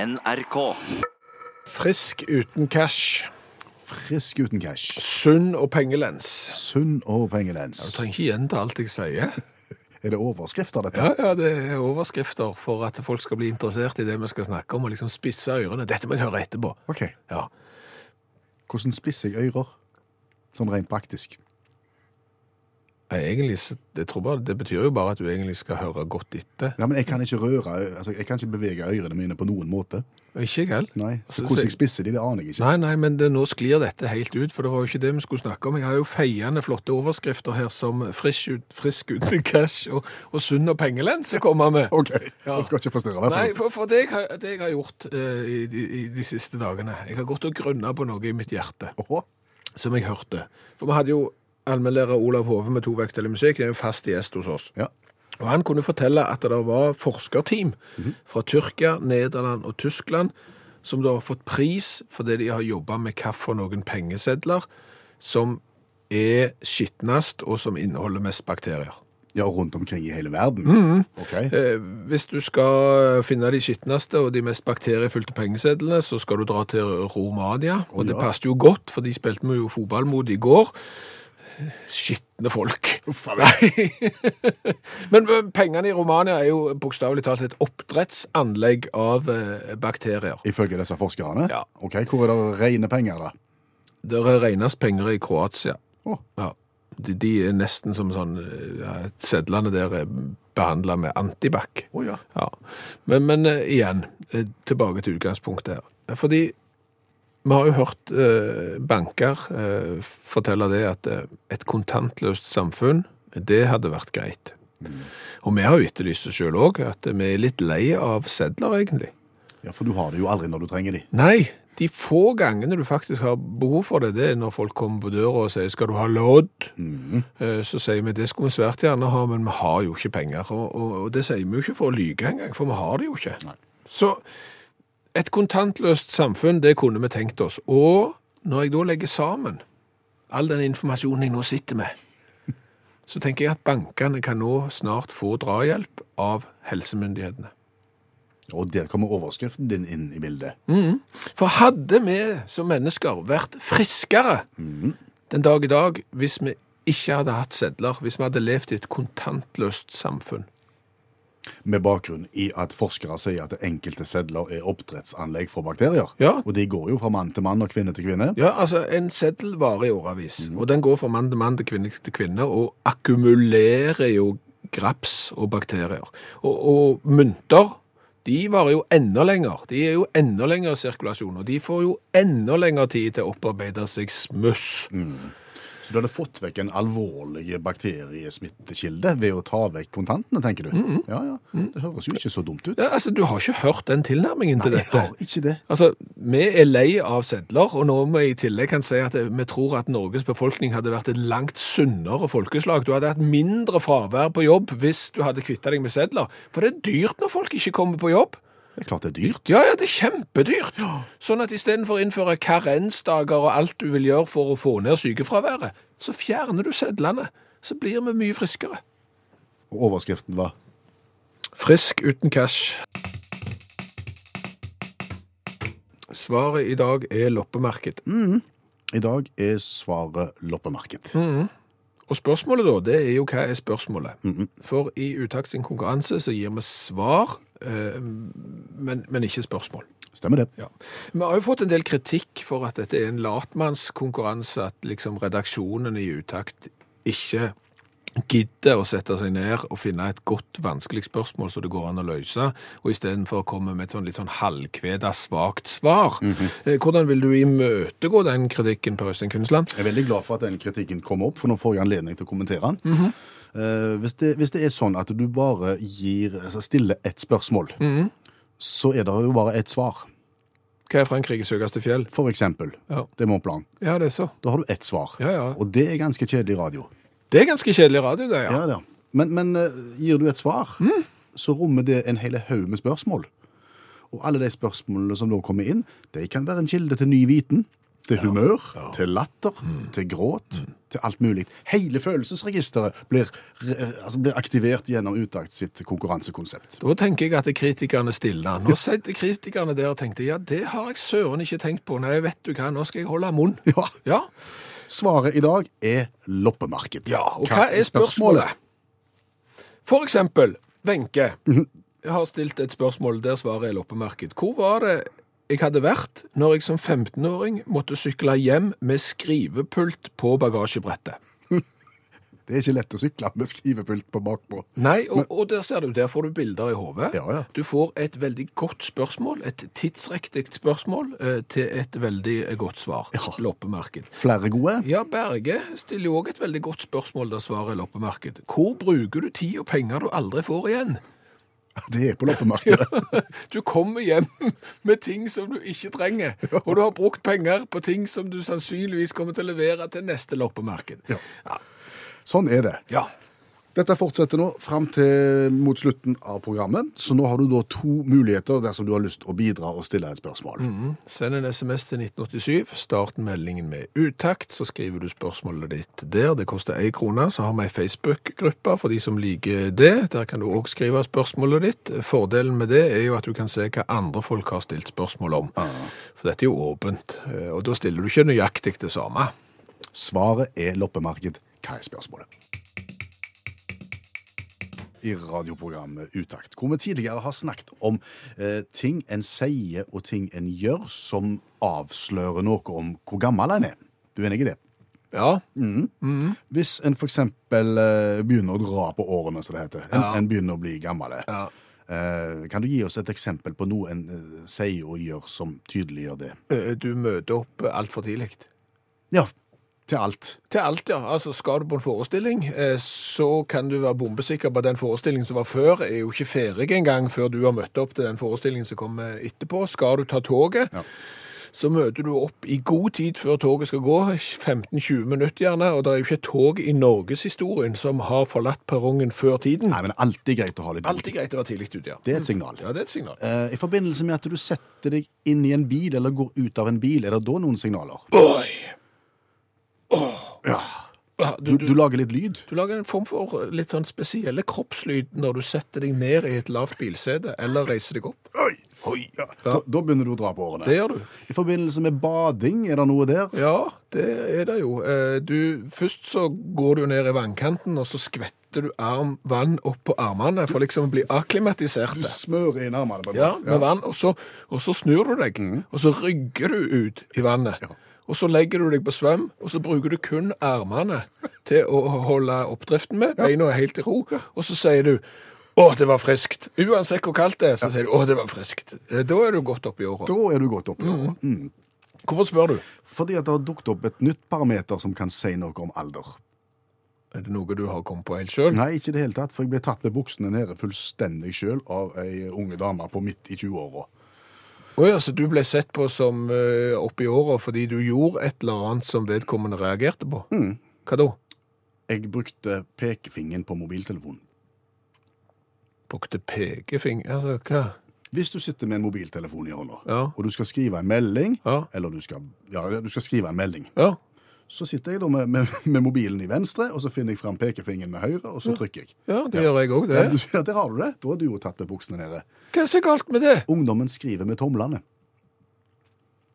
NRK. Frisk uten cash. Frisk uten cash. Sunn og pengelens. Sunn og pengelens. Du trenger ikke gjenta alt jeg sier. Er det overskrifter, dette? Ja, ja, det er overskrifter for at folk skal bli interessert i det vi skal snakke om, og liksom spisse ørene. Dette må jeg høre etterpå. Ok. Ja. Hvordan spisser jeg ører? Sånn rent praktisk. Nei, Egentlig, så- jeg tror bare, Det betyr jo bare at du egentlig skal høre godt etter. Ja, men Jeg kan ikke røre, ø- altså jeg kan ikke bevege ørene mine på noen måte. Ikke jeg heller. Nei, så Så- så- Hvordan jeg spisser de, det aner jeg ikke. Nei, nei, men det, nå sklir dette helt ut, for det var jo ikke det vi skulle snakke om. Jeg har jo feiende flotte overskrifter her som frisk, ut, frisk uten cash og, og sunn og pengelens å komme med. OK, Ja. jeg skal ikke forstyrre. Vær så Nei, god. for, for det, jeg har, det jeg har gjort eh, i, de, i de siste dagene Jeg har gått og grunna på noe i mitt hjerte Åhå. som jeg hørte. For vi hadde jo allmennlærer Olav Hove med to vekttall i musikk, det er jo fast gjest hos oss. Ja. Og han kunne fortelle at det var forskerteam fra Tyrkia, Nederland og Tyskland som da har fått pris fordi de har jobba med kaffe og noen pengesedler som er skitnest og som inneholder mest bakterier. ja, rundt omkring i hele verden. OK. Eh, Hvis du skal finne de skitneste og de mest bakteriefylte pengesedlene, så skal du dra til Romania. Og Å, det ja. passet jo godt, for de spilte vi jo fotball mot i går. Skitne folk. Nei. men, men pengene i Romania er jo bokstavelig talt et oppdrettsanlegg av eh, bakterier. Ifølge disse forskerne? Ja. Ok, Hvor er det rene penger, da? Der er regnes penger i Kroatia. Å, Ja. De, de er nesten som sånn eh, ja, Sedlene der er behandla med antibac. å ja. Ja. Men, men eh, igjen, eh, tilbake til utgangspunktet her. Fordi vi har jo hørt eh, banker eh, fortelle det at eh, et kontantløst samfunn, det hadde vært greit. Og vi har jo etterlyst det sjøl òg, at vi er litt lei av sedler, egentlig. ja. For du har det jo aldri når du trenger de. Nei, de få gangene du faktisk har behov for det, det er når folk kommer på døra og sier 'skal du ha lodd'? Mm. Eh, Så sier vi det skulle vi svært gjerne ha, men vi har jo ikke penger. Og, og, og det sier vi jo ikke for å lyge engang, for vi har det jo ikke. Nei. Så et kontantløst samfunn, det kunne vi tenkt oss. Og når jeg da legger sammen all den informasjonen jeg nå sitter med, så tenker jeg at bankene kan nå snart få drahjelp av helsemyndighetene. Og der kommer overskriften din inn i bildet. For hadde vi som mennesker vært friskere den dag i dag hvis vi ikke hadde hatt sedler, hvis vi hadde levd i et kontantløst samfunn? Med bakgrunn i at forskere sier at enkelte sedler er oppdrettsanlegg for bakterier. Ja. Og de går jo fra mann til mann og kvinne til kvinne. Ja, altså, en seddel varer i årevis, og den går fra mann til mann til kvinne til kvinne, og akkumulerer jo graps og bakterier. Og, og mynter, de varer jo enda lenger. De er jo enda lengre sirkulasjon, og de får jo enda lengre tid til å opparbeide seg smuss. Så du hadde fått vekk en alvorlig bakteriesmittekilde ved å ta vekk kontantene, tenker du? Ja, ja. Det høres jo ikke så dumt ut. Mm, Ja, altså, du har ikke hørt den tilnærmingen til Jeg dette. har ikke det. Altså, vi er lei av sedler, og når vi i tillegg kan si at vi tror at Norges befolkning hadde vært et langt sunnere folkeslag. Du hadde hatt mindre fravær på jobb hvis du hadde kvittet deg med sedler. For det er dyrt når folk ikke kommer på jobb. Det er klart det er dyrt. Ja, ja, det er kjempedyrt. Sånn at istedenfor å innføre karensdager og alt du vil gjøre for å få ned sykefraværet, så fjerner du sedlene. Så blir vi mye friskere. Og overskriften var Frisk uten cash. Svaret i dag er loppemarked. I dag er svaret loppemarked. Mm. Og spørsmålet da, det er jo hva er spørsmålet? For i Utakt sin konkurranse så gir vi svar, eh, men, men ikke spørsmål. Stemmer det. Ja. Vi har jo fått en del kritikk for at dette er en latmannskonkurranse, at liksom redaksjonen i Utakt ikke gidder å sette seg ned og finne et godt, vanskelig spørsmål som det går an å løse, og istedenfor komme med et sånn litt sånn halvkveda, svakt svar. Eh, Hvordan vil du imøtegå den kritikken, Per Øystein Kvinnesland? Jeg er veldig glad for at den kritikken kom opp, for nå får jeg anledning til å kommentere den. Mhm. Eh, hvis, det, hvis det er sånn at du bare gir, altså stiller ett spørsmål, Mhm. så er det jo bare ett svar. Hva er Frankrikes høyeste fjell? For eksempel, Ja. det er Mont Blanc. Ja, det er så. Da har du ett svar. Ja, ja. Og det er ganske kjedelig radio. Det er ganske kjedelig radio, det, ja. Mm. Ja, det er. Men, men eh, gir du et svar, så rommer det en hele haug med spørsmål. Og alle de spørsmålene som da kommer inn, de kan være en kilde til ny viten. til humør, til latter, Mm. til gråt, til alt mulig. Hele følelsesregisteret blir, re- altså blir aktivert gjennom Utakt sitt konkurransekonsept. Da tenker jeg at kritikerne stilner. Nå sitter kritikerne der og tenkte ja, det har jeg søren ikke tenkt på. Nei, vet du hva, nå skal jeg holde munn. Ja, Ja, Svaret i dag er loppemarked. ja. Og hva er spørsmålet? For eksempel, Wenche har stilt et spørsmål der svaret er loppemarked. Hvor var det jeg hadde vært når jeg som 15-åring måtte sykle hjem med skrivepult på bagasjebrettet? Det er ikke lett å sykle med skrivepult på bakpå. Nei, og, og der ser du, der får du bilder i hodet. Ja, ja. Du får et veldig godt spørsmål, et tidsriktig spørsmål, eh, til et veldig eh, godt svar. Ja. Loppemarked. Flere gode? Ja, Berge stiller jo òg et veldig godt spørsmål der svaret er loppemarked. Hvor bruker du tid og penger du aldri får igjen? Det er på loppemarkedet. Du kommer hjem med ting som du ikke trenger, og du har brukt penger på ting som du sannsynligvis kommer til å levere til neste loppemarked. Ja. Sånn er det. Ja. Dette fortsetter nå fram til mot slutten av programmet, så nå har du da to muligheter dersom du har lyst å bidra og stille et spørsmål. Send en SMS til 1987, start meldingen med utakt, så skriver du spørsmålet ditt der. Det koster ei krone. Så har vi ei Facebook-gruppe for de som liker det. Der kan du òg skrive spørsmålet ditt. Fordelen med det er jo at du kan se hva andre folk har stilt spørsmål om. For dette er jo åpent, eh, og da stiller du ikke nøyaktig det samme. Svaret er loppemarked. Hva er spørsmålet? I radioprogrammet Utakt, hvor vi tidligere har snakket om eh, ting en sier og ting en gjør som avslører noe om hvor gammel en er. Du er enig i det? Ja. Hvis en for eksempel eh, begynner å dra på årene, som det heter. En, en begynner å bli gammel. Ja. Eh, kan du gi oss et eksempel på noe en eh, sier og gjør som tydeliggjør det? Eh, Du møter opp altfor tidlig. Ja, til alt. Til alt, ja. Altså, skal du på en forestilling, eh, så kan du være bombesikker på at den forestillingen som var før, er jo ikke ferdig engang før du har møtt opp til den forestillingen som kommer etterpå. Skal du ta toget, Ja. så møter du opp i god tid før toget skal gå, 15-20 minutter gjerne, og det er jo ikke tog i norgeshistorien som har forlatt perrongen før tiden. Nei, men det er alltid greit å ha litt Alltid greit å være tidlig ute, ja. Det er et signal. Ja, det er et signal. Eh, I forbindelse med at du setter deg inn i en bil eller går ut av en bil, er det da noen signaler? Oi! Ja. Ja, Du, du lager litt lyd? Du lager en form for litt sånn spesielle kroppslyd når du setter deg ned i et lavt bilsete eller reiser deg opp. Oi, oi, ja. Da, da begynner du å dra på årene. Det gjør du. I forbindelse med bading, er det noe der? Ja, det er det jo. Eh, Du, først så går du ned i vannkanten, og så skvetter du arm, vann opp på armene for liksom å bli akklimatisert. Du smører inn armene på en Ja, måte. med vann, og så, og så snur du deg, og så rygger du ut i vannet. Og så legger du deg på svøm, og så bruker du kun armene til å holde oppdriften med. Beina er helt i ro, og så sier du å, det var friskt. Uansett hvor kaldt det er, så sier du å, det var friskt. Eh, Da er du godt oppe i året. Da er du godt oppe i Mm. årene. Hvorfor spør du? Fordi at det har dukket opp et nytt parameter som kan si noe om alder. Er det noe du har kommet på helt sjøl? Nei, ikke i det hele tatt, for jeg ble tatt med buksene nede fullstendig sjøl av ei unge dame på midt i 20-åra. Å ja, så du ble sett på som eh, oppe i åra fordi du gjorde et eller annet som vedkommende reagerte på? Mm. Hva da? Jeg brukte pekefingeren på mobiltelefonen. Brukte pekefing... Altså, hva? Hvis du sitter med en mobiltelefon i hånda, Ja. og du skal skrive en melding, Ja. eller du skal, ja, du skal skrive en melding, Ja. så sitter jeg da med, med, med mobilen i venstre, og så finner jeg fram pekefingeren med høyre, og så trykker jeg. Ja, det gjør jeg òg, det. Ja, du, ja, der har du det. Da er du jo tatt med buksene nede. Hva er så galt med det? Ungdommen skriver med tomlene.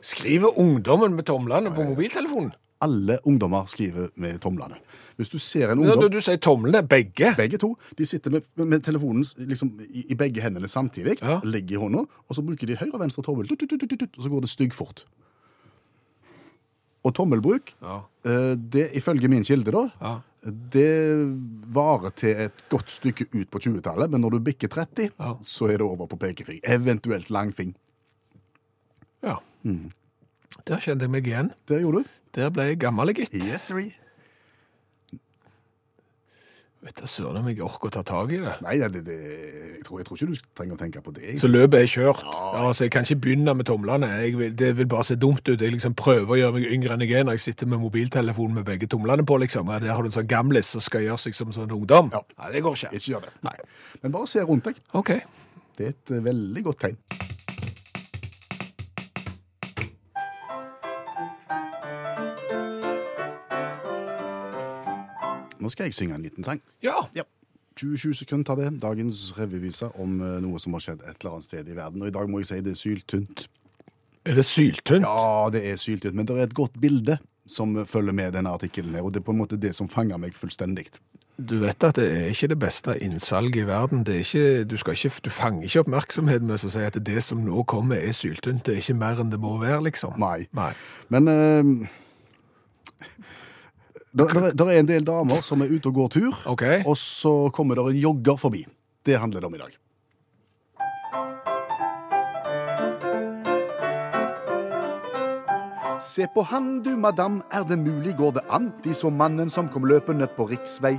Skriver ungdommen med tomlene på mobiltelefonen? Alle ungdommer skriver med tomlene. Hvis du ser en Ja, ungdom du, du sier tomlene, begge. Begge to. De sitter med, med telefonen liksom, i, i begge hendene samtidig, Ja. legger i hånda, og så bruker de høyre og venstre tommel, tut, tut, tut, tut, tut, og så går det styggfort. Og tommelbruk, Ja. eh, det ifølge min kilde, da, Ja. det varer til et godt stykke ut på 20-tallet, men når du bikker 30, Ja. så er det over på pekefing. Eventuelt langfing. ja. Mm. Der kjente jeg meg igjen. Det gjorde du. Der ble jeg gammel, gitt. Yes, sir. Vet du søren om jeg orker å ta tak i det. Nei, det, det, jeg, tror, jeg tror ikke du trenger å tenke på det. Så løpet er kjørt. Ja, altså, jeg kan ikke begynne med tomlene. Jeg vil, det vil bare se dumt ut. Jeg liksom prøver å gjøre meg yngre enn jeg er når jeg sitter med mobiltelefonen med begge tomlene på. liksom. Ja, der har du en sånn gamlis som skal gjøre seg som en sånn ungdom. Ja. Nei, det går ikke. Ikke gjør det. Nei. Men bare se rundt deg. OK. Det er et eh, veldig godt tegn. Nå skal jeg synge en liten sang. Ja. Ja. 27 sekunder tar det. Dagens revyvise om eh, noe som har skjedd et eller annet sted i verden. Og i dag må jeg si det er syltynt. Er det syltynt? Ja, det er syltynt, men det er et godt bilde som følger med denne artikkelen her, og det er på en måte det som fanger meg fullstendig. Du vet at det er ikke det beste innsalget i verden. Det er ikke, du, skal ikke, du fanger ikke oppmerksomheten med å si at det som nå kommer, er syltynt. Det er ikke mer enn det må være, liksom. Nei. Men eh, der, der, der er en del damer som er ute og går tur, OK. og så kommer der en jogger forbi. Det handler det om i dag. Se på han, du madam, er det mulig går det an? De så mannen som kom løpende på riksvei.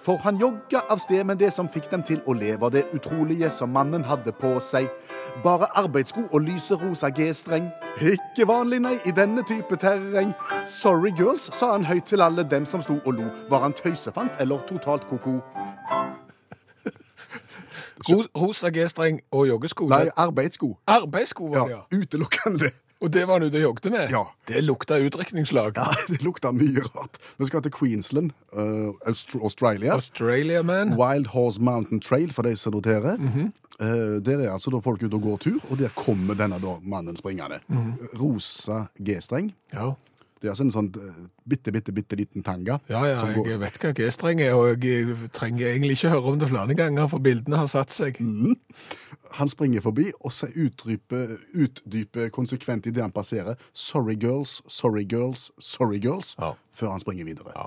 For han jogga av sted, men det som fikk dem til å le, var det utrolige som mannen hadde på seg. Bare arbeidssko og lyserosa G-streng. Ikke vanlig, nei, i denne type terreng. Sorry girls, sa han høyt til alle dem som sto og lo. Var han tøysefant eller totalt ko-ko? Ros- Rosa G-streng og joggesko. Nei, arbeidssko. Arbeidssko var det, ja. Ja, utelukkende. Og det var han ute og jogget med? Ja. Det lukta utrykningslag. Ja, det lukta mye rart. Vi skal til Queensland, eh, Aust- Australia. Australia Man. Wild Horse Mountain Trail, for de som noterer. Mhm. Eh, der er altså da folk ute og går tur, og der kommer denne da mannen springende. Mhm. Rosa G-streng. Ja. Det er altså en sånn eh, bitte, bitte, bitte liten tanga. Ja, ja, som går- jeg vet hva G-streng er, og jeg trenger egentlig ikke høre om det flere ganger, for bildene har satt seg. Mm. Han springer forbi og se- utdyper, utdyper konsekvent idet han passerer 'sorry girls, sorry girls, sorry girls' Ja. før han springer videre. Ja,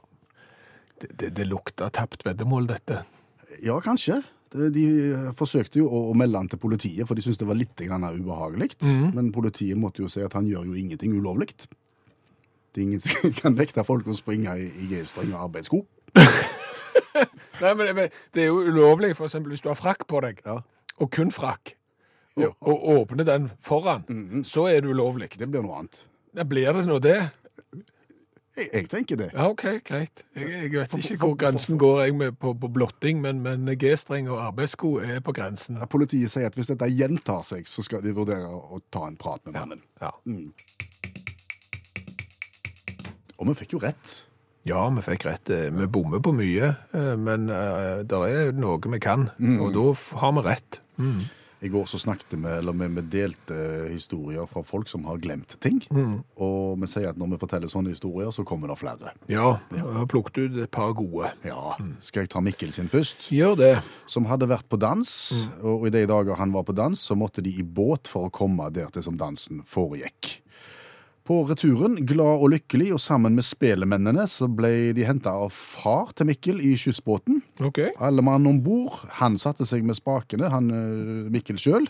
Det, det, det lukta tapt veddemål, dette. kanskje. De, de eh, forsøkte jo å, å melde han til politiet, for de syntes det var litt grann ubehagelig. Men politiet måtte jo si at han gjør jo ingenting ulovlig. Det er ingen som kan nekte folk å springe i, i G-streng og arbeidssko. Nei, men men det er jo ulovlig, for eksempel hvis du har frakk på deg, Ja. og kun frakk, og, og åpner den foran, Mm-hmm. så er det ulovlig. Det blir noe annet. Da blir det nå det. Jeg, jeg tenker det. Ja, OK, greit. Jeg, jeg vet ikke hvor grensen går jeg med på, på blotting, men, men G-streng og arbeidssko er på grensen. Politiet sier at hvis dette gjentar seg, så skal de vurdere å ta en prat med mannen. Mm. Ja. Og vi fikk jo rett. Ja, vi fikk rett. Eh, Vi bommer på mye, eh, men det er noe vi kan, og da f- har vi rett. I går så snakket vi, eller vi, vi delte historier fra folk som har glemt ting. Og vi sier at når vi forteller sånne historier, så kommer det flere. Ja, jeg har plukket ut et par gode. Ja, Skal jeg ta Mikkel sin først? Gjør det. Som hadde vært på dans. Og i de dager han var på dans, så måtte de i båt for å komme der til som dansen foregikk. På returen, glad og lykkelig, og sammen med spelemennene, så ble de henta av far til Mikkel i skyssbåten. OK. Alle mann om bord. Han satte seg med spakene, han eh, Mikkel sjøl.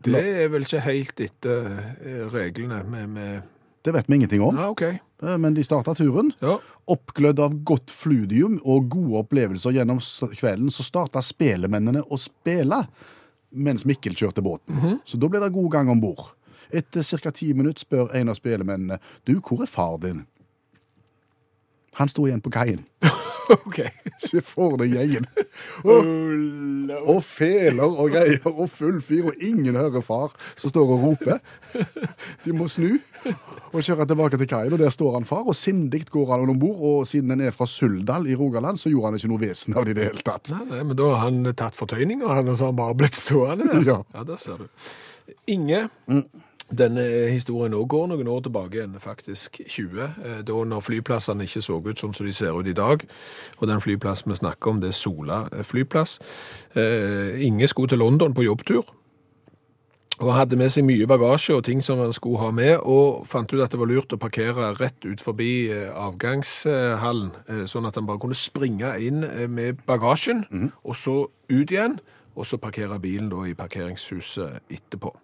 Det er vel ikke helt etter eh, reglene eh, med, med... Det vet vi ingenting om. Ja, OK. Eh, men de starta turen. Ja. Oppglødd av godt fludium og gode opplevelser gjennom s- kvelden, så starta spelemennene å spille mens Mikkel kjørte båten. Så da ble det god gang om bord. Etter ca. ti minutter spør en av spelemennene du, hvor er far din? Han sto igjen på kaien. OK. Se for deg gjengen. Ulla. Og feler og greier og full fyr, og ingen hører far som står og roper. De må snu og kjøre tilbake til kaien, og der står han far. Og sindig går han om bord, og siden han er fra Suldal i Rogaland, så gjorde han ikke noe vesen av det i det hele tatt. Nei, nei, men da har han tatt fortøyning, og han og så har han bare blitt stående der. Ja. der ser du. Inge, denne historien nå går noen år tilbake igjen, faktisk 20, eh, da når flyplassene ikke så ut sånn som de ser ut i dag, og den flyplassen vi snakker om, det er Sola eh, flyplass. Eh, Inge skulle til London på jobbtur, og hadde med seg mye bagasje og ting som han skulle ha med, og fant ut at det var lurt å parkere rett ut forbi eh, avgangshallen, eh, sånn at han bare kunne springe inn eh, med bagasjen, og så ut igjen, og så parkere bilen da i parkeringshuset etterpå.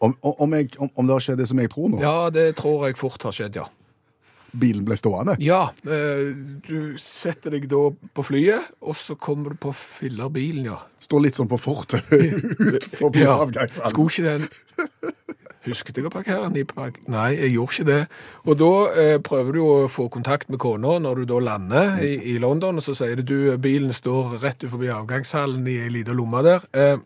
Om, om- om, jeg, om, om det har skjedd det som jeg tror nå? Ja, det tror jeg fort har skjedd, ja. Bilen ble stående? Ja, eh, du setter deg da på flyet, og så kommer du på fillerbilen, ja. Står litt sånn på fortauet utenfor på Ja, avgangshallen. Skulle ikke den Husket jeg å parkere den i park? Nei, jeg gjorde ikke det. Og da eh, prøver du å få kontakt med kona når du da lander i, i London, og så sier du du, bilen står rett ut forbi avgangshallen i ei lita lomme der. Eh,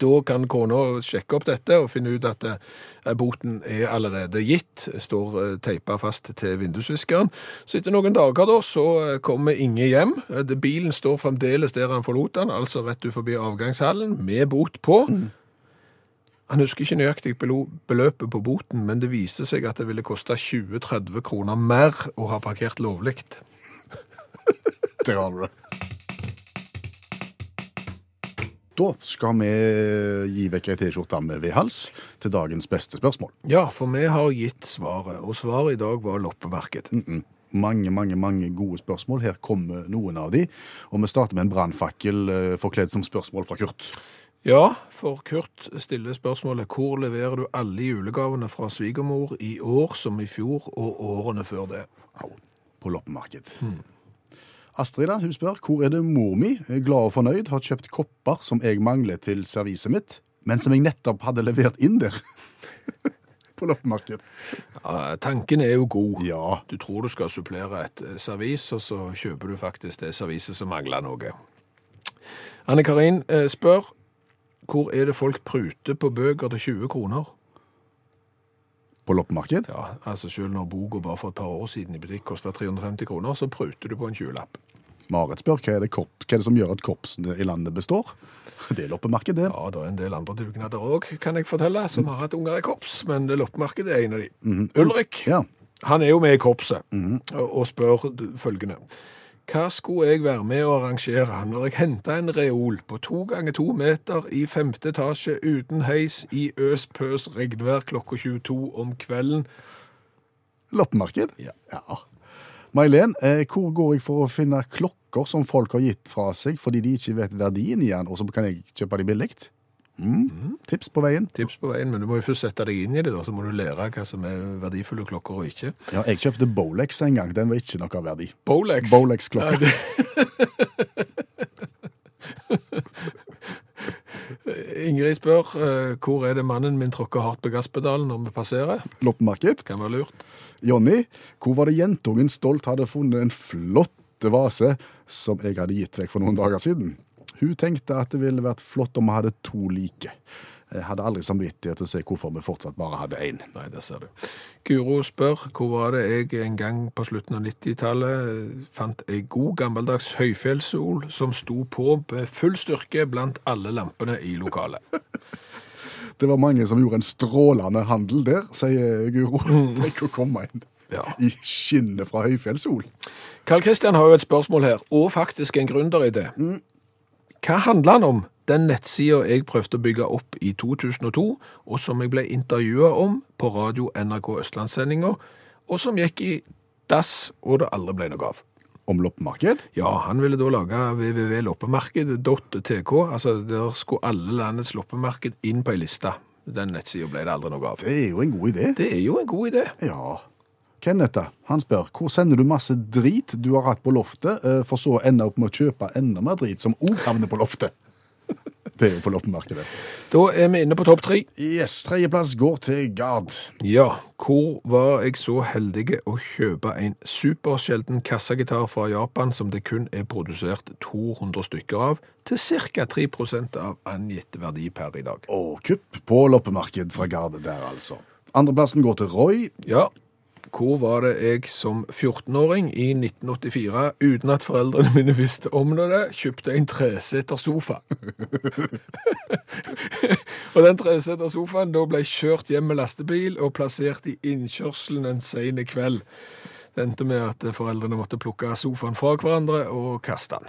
Da kan kona sjekke opp dette og finne ut at eh, boten er allerede gitt, står eh, teipa fast til vindusviskeren. Så etter noen dager da, så eh, kommer Inge hjem. Eh, det- Bilen står fremdeles der han forlot den, altså rett ut forbi avgangshallen, med bot på. Han husker ikke nøyaktig belo- beløpet på boten, men det viste seg at det ville koste 20-30 kroner mer å ha parkert lovligt. Der har du det. Da skal vi gi vekk ei T-skjorte med V-hals til dagens beste spørsmål. Ja, for vi har gitt svaret, og svaret i dag var loppemarked. Mange mange, mange gode spørsmål. Her kommer noen av de. Og vi starter med en brannfakkel eh, forkledd som spørsmål fra Kurt. Ja, for Kurt stiller spørsmålet hvor leverer du alle julegavene fra svigermor i år som i fjor og årene før det? Au, på loppemarked. Astrid da, hun spør hvor er det mor mi, eh, glad og fornøyd, har kjøpt kopper som jeg mangler til serviset mitt, men som jeg nettopp hadde levert inn der. på loppemarked. Ja, tanken er jo god. Ja. Du tror du skal supplere et eh, servis, og så kjøper du faktisk det serviset som mangler noe. Anne Karin eh, spør hvor er det folk pruter på bøker til 20 kroner? På loppemarked? Ja, altså Selv når boka bare for et par år siden i butikk kosta 350 kroner, så pruter du på en 20-lapp. Marit spør hva er, det korp, hva er det som gjør at korpsene i landet består? Det er loppemarked, det. Ja, det er en del andre dugnader òg, kan jeg fortelle, som har hatt unger i korps, men loppemarkedet er en av de. Ulrik Ja. han er jo med i korpset og, og spør d- følgende. Hva skulle jeg være med å arrangere når jeg henta en reol på to ganger to meter i femte etasje uten heis i øs pøs regnvær klokka 22 om kvelden? Loppemarked? Ja. Mailen, eh, hvor går jeg for å finne klokker som folk har gitt fra seg fordi de ikke vet verdien i den, og så kan jeg kjøpe de billig? Mm. Tips på veien. Tips på veien, men du må jo først sette deg inn i det, da, så må du lære hva som er verdifulle klokker og ikke. Ja, jeg kjøpte Bolex en gang. Den var ikke noe av verdi. Bolex. Bolex-klokka. Ingrid spør eh, hvor er det mannen min tråkker hardt på gasspedalen når vi passerer? Loppemarked. Kan være lurt. Jonny, hvor var det jentungen stolt hadde funnet en flott vase som jeg hadde gitt vekk for noen dager siden? Hun tenkte at det ville vært flott om vi hadde to like. Jeg hadde aldri samvittighet til å se hvorfor vi fortsatt bare hadde én. Nei, det ser du. Guro spør hvor var det jeg en gang på slutten av 90-tallet fant ei god gammeldags høyfjellssol som sto på med full styrke blant alle lampene i lokalet. Det var mange som gjorde en strålende handel der, sier Guro. Tenk å komme inn Ja. i skinnet fra høyfjellssol. Karl Kristian har jo et spørsmål her, og faktisk en gründeridé. Hva handler han om? Den nettsida jeg prøvde å bygge opp i 2002, og som jeg ble intervjua om på radio NRK Østlandssendinga, og som gikk i dass, og det aldri ble noe av. Om loppemarked? Ja, han ville da lage www.loppemarked.tk. Altså, der skulle alle landets loppemarked inn på ei liste. Den nettsida ble det aldri noe av. Det er jo en god idé. Det er jo en god idé. Ja. Kenneth, da, han spør hvor sender du masse drit du har hatt på loftet, eh, for så å ende opp med å kjøpe enda mer drit som òg havner på loftet? Det er jo på loppemarkedet. Da er vi inne på topp tre. Yes, Tredjeplass går til Gard. Ja, hvor var jeg så heldig å kjøpe en supersjelden kassagitar fra Japan som det kun er produsert 200 stykker av, til ca. 3 av angitt verdi per i dag? Og kupp på loppemarked fra Gard der, altså. Andreplassen går til Roy. Ja, hvor var det jeg som 14-åring i 1984, uten at foreldrene mine visste om det, kjøpte en treseter sofa? og den treseter sofaen da ble kjørt hjem med lastebil og plassert i innkjørselen en sene kveld. Det endte med at foreldrene måtte plukke sofaen fra hverandre og kaste den.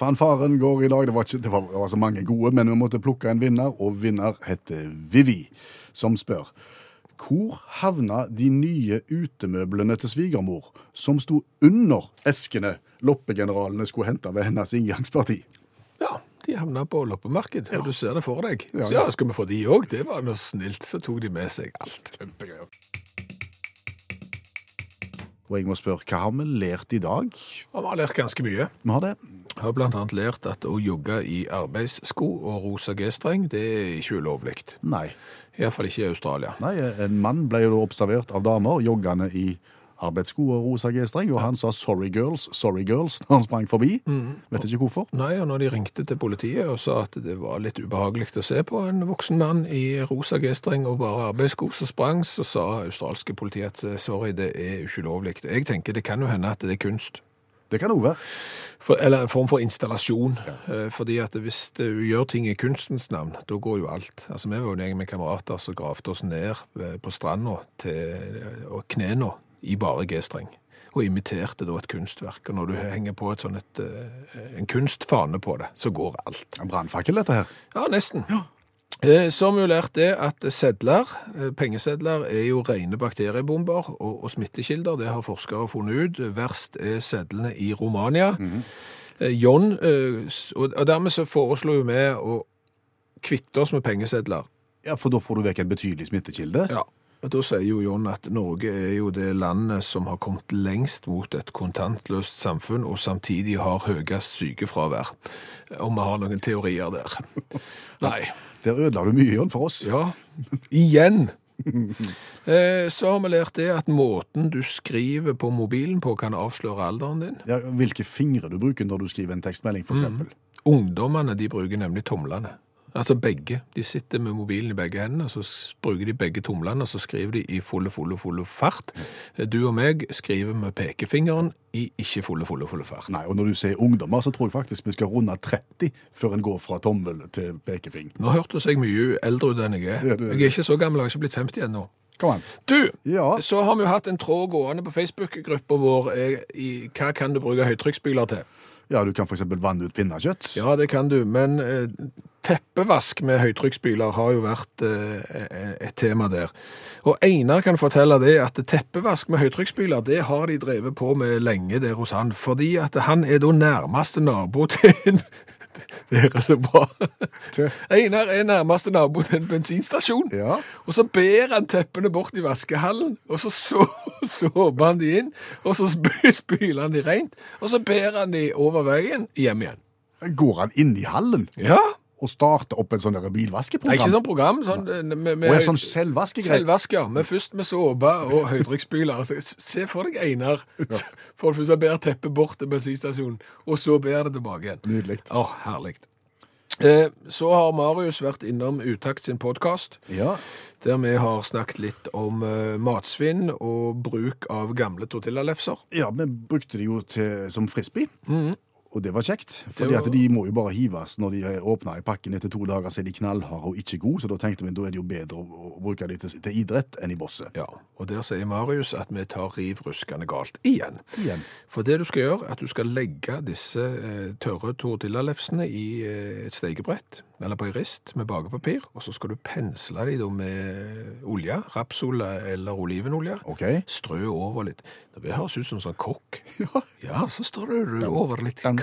Fanfaren går i dag. Det var, ikke, det var, det var så mange gode, men vi måtte plukke en vinner, og vinner heter Vivi, som spør hvor havna de nye utemøblene til svigermor, som sto under eskene loppegeneralene skulle hente ved hennes inngangsparti? Ja, de havna på loppemarked, og du ser det for deg. Ja, Så ja, skal vi få de òg? Det var noe snilt. Så tok de med seg alt. Kjempegreier. Og jeg må spørre, hva har vi lært i dag? Og vi har lært ganske mye. Vi har det. har blant annet lært at å jogge i arbeidssko og rosa G-streng, det er ikke ulovlig. Nei. Iallfall ikke i Australia. Nei, en mann ble jo observert av damer joggende i arbeidssko og rosa G-streng, og han sa 'sorry girls, sorry girls' når han sprang forbi. Mhm. Vet ikke hvorfor. Nei, og når de ringte til politiet og sa at det var litt ubehagelig å se på en voksen mann i rosa G-streng og bare arbeidssko som sprang, så sa australske politiet at sorry, det er ikke ulovlig. Jeg tenker det kan jo hende at det er kunst. Det kan òg være. For, eller en form for installasjon. Eh, Fordi at hvis du gjør ting i kunstens navn, da går jo alt. Altså, vi var jo en gjeng med kamerater som gravde oss ned eh, på stranda til eh, og knena i bare G-streng. Og imiterte da et kunstverk. Og når du henger på et sånn et, eh, en kunstfane på det, så går alt. En brannfakkel, dette her. Ja, nesten. Eh, Så har vi jo lært det at sedler, eh, pengesedler, er jo rene bakteriebomber og, og smittekilder. Det har forskere funnet ut. Verst er sedlene i Romania. Eh, John, eh, s- og og dermed så foreslo jo vi å kvitte oss med pengesedler. Ja, For da får du vekk en betydelig smittekilde. Ja. Og da sier jo John at Norge er jo det landet som har kommet lengst mot et kontantløst samfunn, og samtidig har høyest sykefravær. Om vi har noen teorier der. Nei. Der ødela du mye, Jørn, for oss. Ja, igjen. Eh, Så har vi lært det at måten du skriver på mobilen på kan avsløre alderen din. Ja, hvilke fingre du bruker når du skriver en tekstmelding, Mhm. for eksempel. Ungdommene de bruker nemlig tomlene. Altså begge. De sitter med mobilen i begge hendene, og så s- bruker de begge tomlene, og så skriver de i fulle, fulle, fulle fart. Eh, Du og meg skriver med pekefingeren i ikke fulle, fulle, fulle fart. Nei, og når du sier ungdommer, så tror jeg faktisk vi skal runde 30 før en går fra tommel til pekefing. Nå hørtes jeg mye eldre ut enn jeg er. Ja, du er Jeg er ikke så gammel, jeg har ikke blitt 50 ennå. Kom an. Du, Ja. så har vi jo hatt en tråd gående på Facebook-gruppa vår eh, i hva kan du bruke høytrykksspyler til. Ja, du kan for eksempel vanne ut pinnekjøtt. Ja, det kan du, men eh, teppevask med høytrykksspyler har jo vært eh, et tema der. Og Einar kan fortelle det at teppevask med høytrykksspyler, det har de drevet på med lenge der hos han, fordi at han er da nærmeste nabo til en det er så bra. Einar er nærmeste nabo til en bensinstasjon. Ja. Og så bærer han teppene bort i vaskehallen, og så så- såper han de inn, og så spy- spyler han de rent, og så bærer han de over veien hjem igjen. Går han inn i hallen Ja, og starter opp en sånn der Nei, bilvaskeprogram? ikke sånn program. Sånn, eh, med, med, Og en sånn selvvaskegreie? Selvvasker, men først med såpe og høytrykksspyler. Altså, s- se for deg Einar. For det første bærer teppet bort til bensinstasjonen, og så bærer det tilbake igjen. Nydelig. Å, herlig. Eh, så har Marius vært innom Utakt sin podkast, Ja, der vi har snakket litt om eh, matsvinn og bruk av gamle tortillalefser. ja, vi brukte det jo til, som frisbee. Og det var kjekt, fordi Mm. var- at de må jo bare hives når de åpner i pakken etter to dager, så er de knallharde og ikke gode, så da tenkte vi da er det jo bedre å, å bruke de til, til idrett enn i bosset. Ja, og der sier Marius at vi tar riv ruskende galt igjen. Igjen. For det du skal gjøre, er at du skal legge disse eh, tørre tortillalefsene i eh, et steikebrett, eller på en rist med bakepapir, og så skal du pensle dem da med olje, rapsolje eller olivenolje. Ok? Strø over litt. Det høres ut som en sånn kokk. Ja. Ja, så strør du over litt krydder.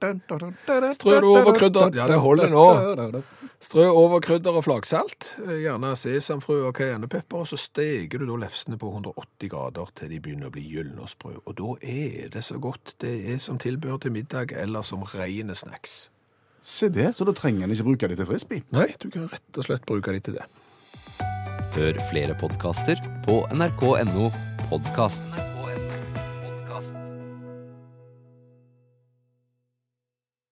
Strør Strør du over krydder? Ja, det holder nå. Strø over krydder og flaksalt, eh, gjerne sesamfrø og cayennepepper, og så steker du da lefsene på 180 grader til de begynner å bli gylne og sprø. Og da er det så godt. Det er som tilbehør til middag eller som rene snacks. Se det, så da trenger en ikke bruke det til frisbee. Nei, du kan rett og slett bruke de til det. Hør flere podkaster på nrk.no podkast.